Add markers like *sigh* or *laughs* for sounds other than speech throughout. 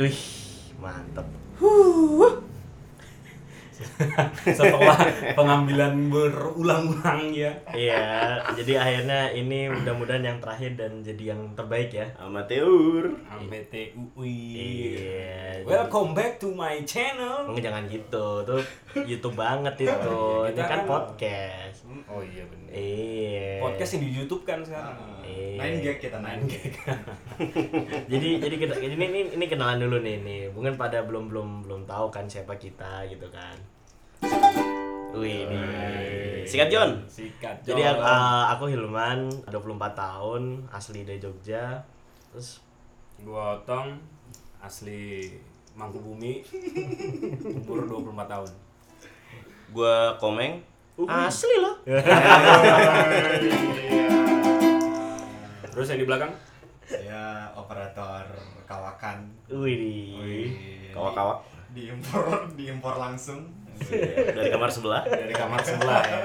Wih, mantep. *laughs* setelah pengambilan berulang-ulang ya Iya, jadi akhirnya ini mudah-mudahan yang terakhir dan jadi yang terbaik ya. Amateur. MBTUI Iya. Welcome back to my channel Enggak jangan gitu, tuh YouTube banget itu. Ini Kita kan kan- podcast. Oh iya bener. Iya. Hmm. podcast yang di YouTube kan sekarang Iya. Main gag kita main gag. *laughs* jadi jadi kita ini ini, ini kenalan dulu nih nih mungkin pada belum belum belum tahu kan siapa kita gitu kan wih ini Sikat John. sikat Iya. jadi aku, John. eh, aku Hilman 24 tahun asli dari Jogja terus gua Otong asli Mangkubumi umur 24 tahun Gua Komeng. asli loh Iya. Iya. terus yang di belakang Saya Ya, operator kawakan. wih di *laughs* Kawak-kawak. Diimpor, diimpor langsung. Iya, Dari kamar sebelah. dari kamar sebelah ya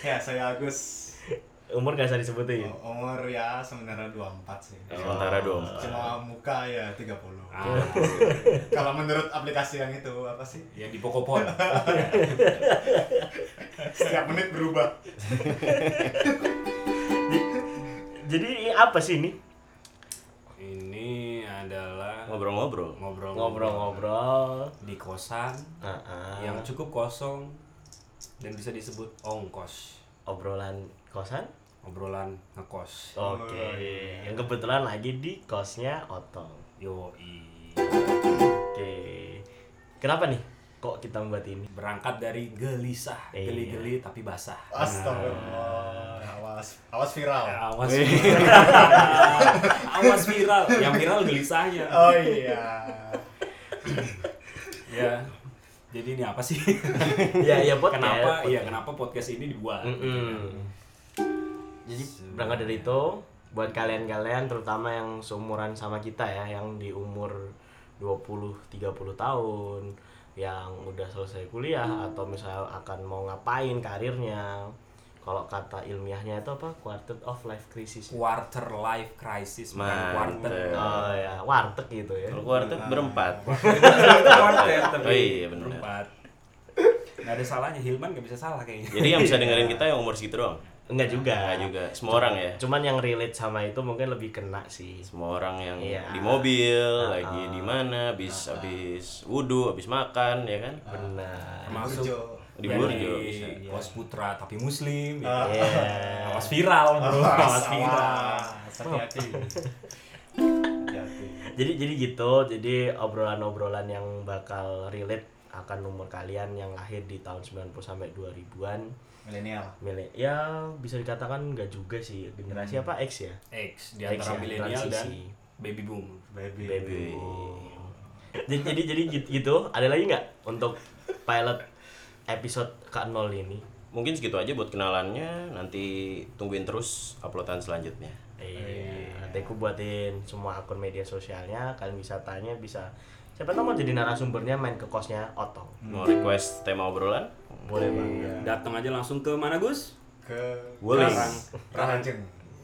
ya, saya Agus. umur gak usah disebutin U- Umur ya sementara 24 sih. Sementara dong. Cuma muka ya 30. ah, Kalau menurut aplikasi yang itu apa sih? ya di Pokopon Setiap menit berubah. jadi ini apa sih ini ini adalah Ngobrol-ngobrol. ngobrol-ngobrol ngobrol-ngobrol di kosan Heeh. yang cukup kosong dan bisa disebut ongkos obrolan kosan obrolan ngekos oke yang kebetulan lagi di kosnya Otong yoi Oke. Kenapa nih? Kok kita membuat ini? berangkat dari gelisah Iya. geli-geli tapi basah Nah, Astagfirullah. Awas, awas viral. Ya, awas viral *laughs* awas viral yang viral gelisahnya Oh iya. ya jadi ini apa sih *laughs* ya, ya podcast. kenapa Podcast. ya kenapa podcast ini dibuat Gitu kan. Mm-mm. Jadi berangkat dari itu buat kalian-kalian terutama yang seumuran sama kita ya, yang di umur 20 30 tahun, yang udah selesai kuliah atau misal akan mau ngapain karirnya. Kalau kata ilmiahnya itu apa? Quarter of life crisis. quarter life crisis bukan Mantep. *laughs* quarter Oh ya, warteg gitu ya. Iya. Kalau kuartet Ah. berempat. quarter tapi Oh iya, bener. berempat nggak ada salahnya Hilman nggak bisa salah kayaknya Jadi yang bisa dengerin kita yang umur segitu doang. Enggak juga. Nah, juga semua orang ya. Cuman yang relate sama itu mungkin lebih kena sih. Semua orang yang Iya. di mobil, Ah. lagi di mana, habis habis wudhu, habis makan ya kan. Benar. *laughs* termasuk Burjo. Di dari Burjo, bisa. kos iya, putra tapi muslim ya. Ah, Iya. awas viral bro awas Awas, viral awas. Hati-hati. Hati-hati. Jadi jadi gitu. Jadi obrolan-obrolan yang bakal relate akan umur kalian yang lahir di tahun 90 sampai 2000-an. Milenial. Milih ya bisa dikatakan nggak juga sih generasi apa X ya? X di X ya, antara milenial dan transisi. baby boom Baby. Baby. Jadi jadi jadi gitu, gitu. Ada lagi nggak untuk pilot episode K0 ini? Mungkin segitu aja buat kenalannya. Nanti tungguin terus uploadan selanjutnya. Iya, nanti aku buatin semua akun media sosialnya. Kalian bisa tanya, bisa siapa tahu mau jadi narasumbernya main ke kosnya Otong. Hmm. Mau request tema obrolan? Boleh banget. datang aja langsung ke mana Gus Ke Wuling. Rahanjeng.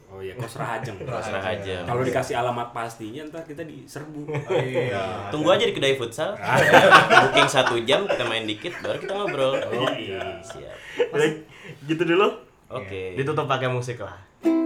oh iya kos Rahajeng Terserah aja. kalau dikasih alamat pastinya ntar kita diserbu *laughs* Oh iya. Tunggu aja di kedai futsal. Ah. Booking satu jam, kita main dikit, baru kita ngobrol. Oh, iya. Siap. gitu dulu. Oke. Ditutup pakai musik lah.